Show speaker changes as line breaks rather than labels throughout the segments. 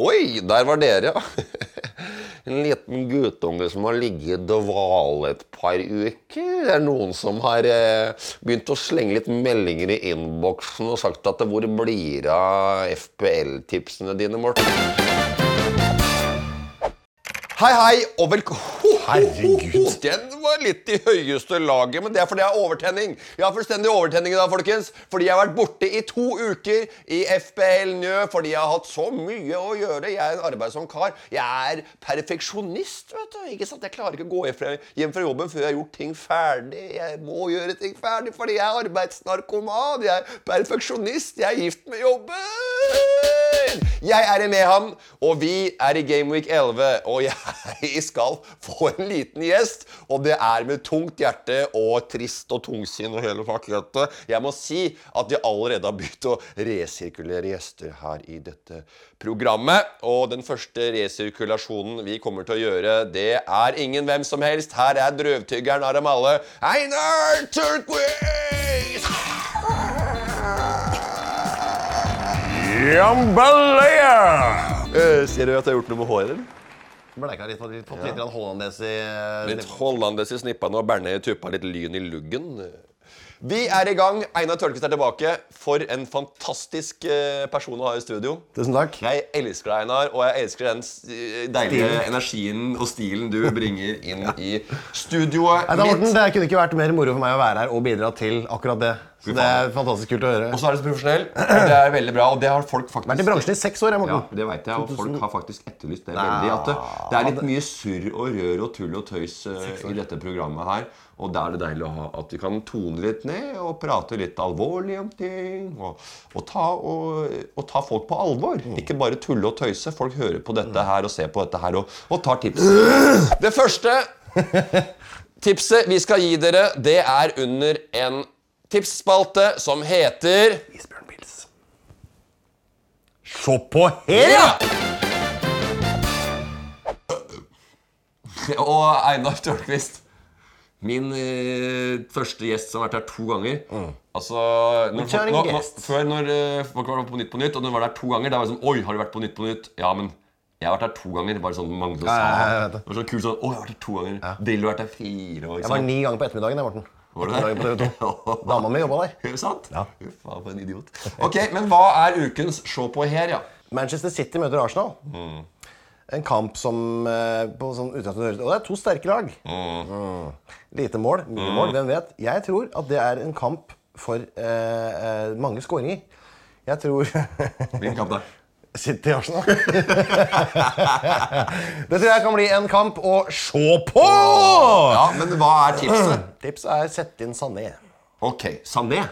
Oi, der var dere, ja. En liten guttunge som har ligget i dvale et par uker. Det er noen som har eh, begynt å slenge litt meldinger i innboksen og sagt at hvor blir det av FPL-tipsene dine, Morten? Hei, hei, og velkommen
Herregud.
Den var litt i høyeste laget, men det er fordi jeg har overtenning. Jeg har fullstendig overtenning i dag, folkens. Fordi jeg har vært borte i to uker i FBL Njø. Fordi jeg har hatt så mye å gjøre. Jeg er en arbeidsom kar. Jeg er perfeksjonist, vet du. Ikke sant? Jeg klarer ikke å gå hjem fra- hjem fra jobben før jeg har gjort ting ferdig. Jeg må gjøre ting ferdig fordi jeg er arbeidsnarkoman. Jeg er perfeksjonist. Jeg er gift med jobben. Jeg er i Mehamn, og vi er i Gameweek 11. Og jeg skal få en liten gjest, og det er med tungt hjerte og trist og tungsinn og hele pakkerettet. Jeg må si at de allerede har begynt å resirkulere gjester her i dette programmet. Og den første resirkulasjonen vi kommer til å gjøre, det er ingen hvem som helst. Her er drøvtyggeren av dem alle, Einar Turquist!
Jambalaya!
Eh, Ser du at jeg har gjort noe med håret, eller?
Bleika litt, fått litt, fått litt grann hollandes i eh,
Litt hollandes i snippene og Bernie tuppa litt lyn i luggen. Vi er i gang. Einar Tørnquist er tilbake. For en fantastisk eh, person å ha i studio.
Tusen takk.
Jeg elsker deg, Einar, og jeg elsker den eh, deilige energien og stilen du bringer inn i studioet
Nei, da, Morten,
mitt.
det kunne ikke vært mer moro for meg å være her og bidra til akkurat det. Så det er fantastisk kult å høre.
Og så er du så profesjonell. og Det er veldig bra, og det har folk faktisk
Vært i bransjen i seks år, jeg,
Ja,
Morten.
det vet jeg, og folk har faktisk etterlyst det veldig. At det, det er litt mye surr og rør og tull og tøys eh, i dette programmet her. Og da er det deilig å ha at vi kan tone litt ned og prate litt alvorlig om ting. Og, og, ta, og, og ta folk på alvor. Ikke bare tulle og tøyse. Folk hører på dette her og ser på dette her og, og tar tips. Det første tipset vi skal gi dere, det er under en tipsspalte som heter
Isbjørn Pils. Se på her!
Ja! Og Einar Tørnquist. Min eh, første gjest som har vært her to ganger. Altså, når,
Mm. kjør en
nå, nå,
gjest.
før når eh, folk var på Nytt på Nytt, og den var der to ganger, da var det sånn Oi, har du vært på Nytt på Nytt? Ja, men jeg har vært her to ganger. Bare sånn Magne sa.
ja, ja, jeg vet
det
det.
var sånn kult sånn Å, jeg har vært her to ganger. Drillo har vært her fire år.
Jeg var ni ganger på ettermiddagen, jeg, Morten.
Var
Ettermiddagen
det
På TV 2.
det?
Dama mi jobba der.
Er det sant?
Ja.
Fy faen, for en idiot. Ok, Men hva er ukens Se på her, ja?
Manchester City møter Arsenal. En kamp som eh, på sånn utgangspunkt høres Og det er to sterke lag. Mm. Lite mål, mye
Mm.
mål, hvem vet. Jeg tror at det er en kamp for eh, eh, mange skåringer. Jeg tror
Hvilken kamp det er?
City-Arsenal. det tror jeg kan bli en kamp å se på!
Ja, men hva er tipset?
Tipset er sett inn Sané.
Ok, Sané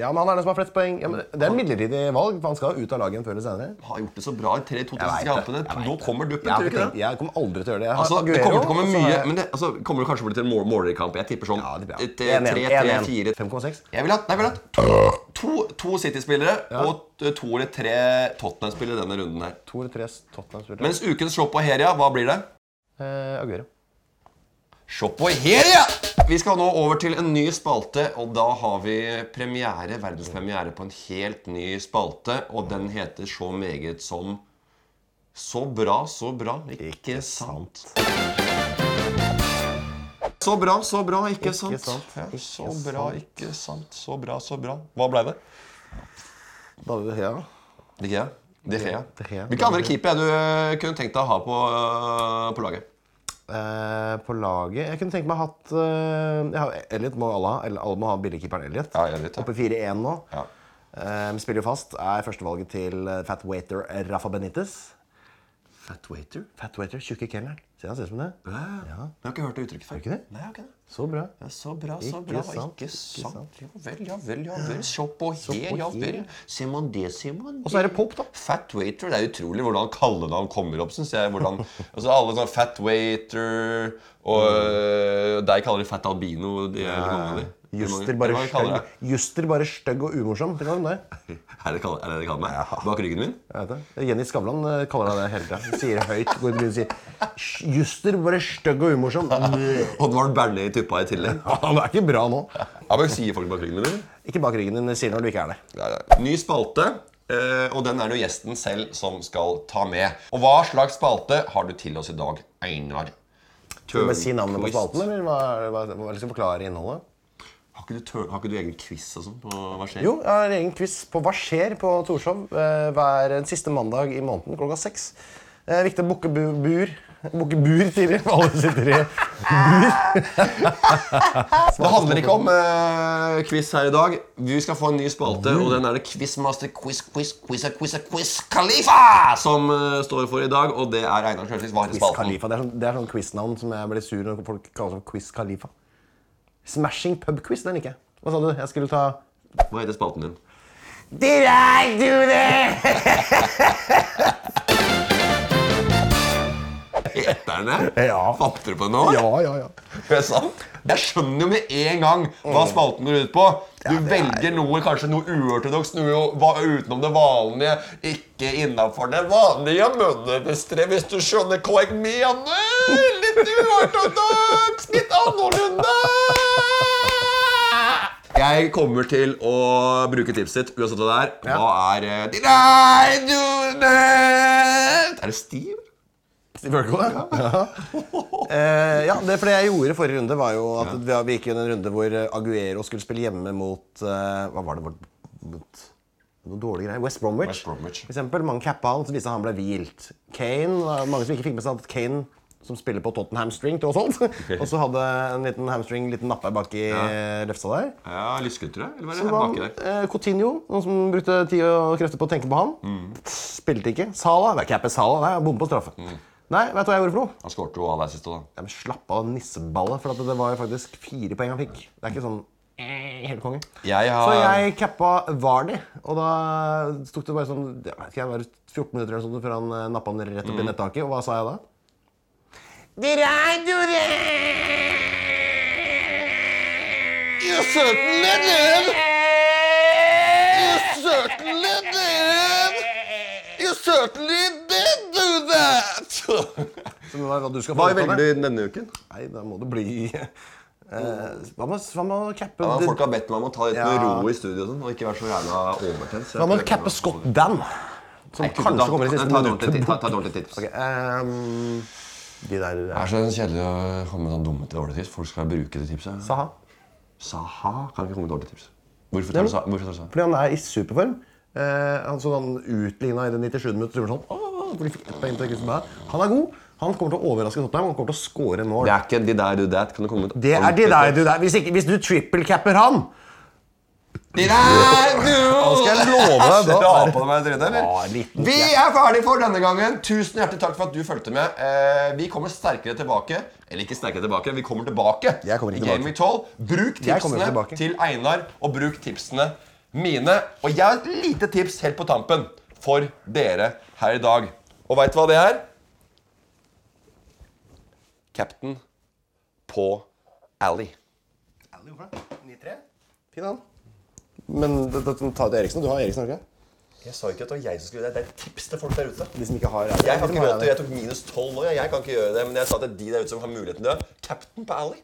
Ja, men Han er den som har flest poeng. Ja, men det er midlertidig valg, for han skal ut av laget før eller senere.
har gjort det så bra i tre- to
Jeg vet
siste
det,
kampene.
jeg vet
Nå
det.
kommer duppen,
Jeg, har
tror du
ikke
ikke
tenkt-
det?
jeg kommer aldri til å gjøre det. Jeg har
Altså, det
Aguero,
kommer til å komme
og så har
mye,
jeg-
men det altså, kommer det kanskje bli til en mål- målere kamp. Jeg tipper sånn
Ja, det blir bra.
et, eh,
En, en,
tre,
en,
tre,
en.
fire.
5,6.
Jeg vil ha, nei, jeg vil ha to, to, to City-spillere og t- to eller tre Tottenham-spillere denne runden her.
To eller tre Tottenham-spillere.
Mens ukens Shop og Heria, hva blir det?
Eh, Aguero.
Shop og Heria! Vi skal nå over til en ny spalte, og da har vi premiere, verdenspremiere på en helt ny spalte, og den heter så meget som Så bra, så bra, ikke sant? Så bra, så bra, ikke, sant?
sant,
Ja,
ikke
så bra, ikke sant. Så bra, så bra. Hva blei det?
David De Gea.
De Gea. De Gea.
De Gea.
Hvilke andre keepere er det du kunne tenkt deg å ha på, øh, på laget?
Eh, på laget Jeg kunne tenkt meg å ha hatt eh, jeg har- Elliot må alle ha. Eller alle må ha billigkeeperen Elliot.
Ja, Elliot, ja.
Oppe 4-1 nå.
Ja.
Eh, spiller jo fast. Er førstevalget til eh, fat waiter Rafa Benitez.
Fat waiter?
Fat waiter, tjukke kelneren. Ser han ser ut som det?
Ja. Jeg har ikke hørt det uttrykket før.
ikke det?
Nei, jeg har ikke det.
Så bra.
Ja, så bra, så
Ikke
bra.
sant,
Ikke
ikke
sant.
sant.
Ja vel, ja vel, ja vel. Se på her,
på
ja
her.
vel. Simon det, Simon
Og så er det pop, da.
Fat waiter. Det er utrolig hvordan kallenavn kommer opp, syns jeg. Hvordan, altså alle sånn fat waiter og øh, deg kaller de fat albino. De er mange av de. Det er mange.
Juster
Det er
bare
hva de kaller
stygg Juster bare stygg og umorsom. Det kaller de det.
deg. Er det kaller- er det det de kaller meg? Bak ryggen min?
Jeg vet det. Jenny Skavlan eh, kaller deg det hele tida. Hun Sier det høyt. Går i byen og sier "Sj, Juster bare stygg og umorsom. Det
Oddvar Bernie tuppa i tillegg.
er ikke bra nå.
Ja, men Sier folk bak ryggen min, eller?
Ikke bak ryggen din, sier når du ikke er der.
Ny spalte. Eh, og den er det jo gjesten selv som skal ta med. Og hva slags spalte har du til oss i dag, Einar?
Men si navnet på
Tørnquist.
spalten, eller hva, hva, hva, hva skal jeg forklare innholdet?
Har ikke du, tør, har ikke du egen quiz og sånn? på Hva skjer?
Jo, jeg har egen quiz på Hva skjer på Torshov eh, hver siste mandag i måneden klokka seks. Eh, viktig å booke bu bur. Booke bur tidlig, for alle sitter i
Det handler ikke om eh, quiz her i dag. Vi skal få en ny spalte,
Mm.
og den er det Quizmaster Quiz Quiz Quiz Quiz Quiz Khalifa som eh, står for i dag. Og det er Einar Sjølsvik. Hva heter
Quiz
spalten?
Khalifa. Det er sånn, det er sånn quiznavn som jeg blir sur når folk kaller det for Quiz Khalifa. Smashing pub quiz, den liker jeg. Hva sa du? Jeg skulle ta
Hva heter spalten din?
Did I do that?
Heter den det?
Ja.
Fant dere på det nå?
Ja, ja, ja.
Det er sant. Jeg skjønner jo med en gang
Mm.
hva spalten går ut på. Du velger noe kanskje noe uortodokst, noe jo va- utenom det vanlige. Ikke innafor det vanlige mønsteret, hvis du skjønner hva jeg mener. Litt uortodoks, litt annerledes. Jeg kommer til å bruke tipset ditt uansett hva det er.
Ja.
Hva er eh, Did I do that? Er det stiv?
Steve Urkel, ja. Ja. Eh, ja, det, for det jeg gjorde i forrige runde, var jo at vi- vi gikk inn i en runde hvor eh, Aguero skulle spille hjemme mot eh, Hva var det? Mot, mot noen dårlige greier. West Bromwich.
West Bromwich.
For eksempel, mange cappa han, så viste han han ble hvilt. Kane, det var Mange som ikke fikk med seg at Kane som spiller på Tottenham Hamstring, tross alt. Og så hadde en liten hamstring, liten nappe baki eh, lefsa der.
Ja, lysken, tror jeg. Eller hva er
Så
det
var
baki der?
eh, Coutinho, noen som brukte tid og krefter på å tenke på han.
Mm.
Spilte ikke. Sala, det er cappe Sala, det er bom på straffe. Nei, vet du hva jeg gjorde for noe?
Han skårte jo av deg sist òg, da.
Ja, men slapp av nisseballet, for at det var jo faktisk fire poeng han fikk. Det er ikke sånn eh, helt konge.
Jeg har-
Så jeg cappa Vardy, og da tok det bare sånn jeg vet ikke, jeg var 14 minutter eller sånn før han eh, nappa den rett opp
Mm.
i nettaket. Og hva sa jeg da? Did I do that?
You certainly did! You certainly did! You certainly did do that!
Så det var hva du skal
Hva
få ut av det.
velger du denne uken?
Nei, da må det bli eh, Hva med, hva med å cappe
Ja,
det-
folk har bedt meg om å ta litt med
Ja.
ro i studio og sånn, og ikke være så jævla overtent. så jeg
Hva med
prøver
å cappe
å-
Scott Dan? Som
Nei,
kanskje
da-
kommer i siste
ta et
minutt.
ordentlig tips, ta- ta et ordentlig tips.
Ok, ehm, de der
Det
eh,
er så kjedelig å komme med sånn dumme til dårlige tips. Folk skal bruke det tipset.
Saha.
Saha kan ikke komme med dårlige tips. Hvorfor tar du Sa- hvorfor tar du Saha?
Fordi han er i superform. Eh, han så han utligna i det 97 minutter. så var det Sånn, «Åh, hvor de fikk ett poeng til Christian Bale». han er god. Han kommer til å overraske Tottenham. Han kommer til å score mål.
Det er ikke de der do that. Kan du komme med et
Det er de
ordentlig
der, du der. Hvis, ikke, hvis du trippelcapper han
De der do
skal jeg love deg, da
Dra
er det-
på deg med dritt, eller?
Ja, en liten
Vi er ferdige for denne gangen. Tusen hjertelig takk for at du fulgte med. Eh, vi kommer sterkere tilbake. Eller ikke sterkere tilbake, vi kommer tilbake.
Jeg kommer ikke
i Game Week 12. Bruk
Jeg kommer ikke
tipsene
tilbake.
til Einar, og bruk tipsene mine. Og jeg har et lite tips helt på tampen for dere her i dag. Og veit du hva det er? Captain på Alley.
Fin han. Men det- det- ta ut Eriksen. Du har Eriksen, har du ikke?
Jeg sa ikke at det var jeg som skulle gjøre det. Det er et tips til folk der ute.
De som ikke har
Jeg har
de
ikke
som har
råd til, jeg tok minus 12 nå, jeg. jeg kan ikke gjøre det. Men jeg sa til de der ute som har muligheten til det. Captain på Alley.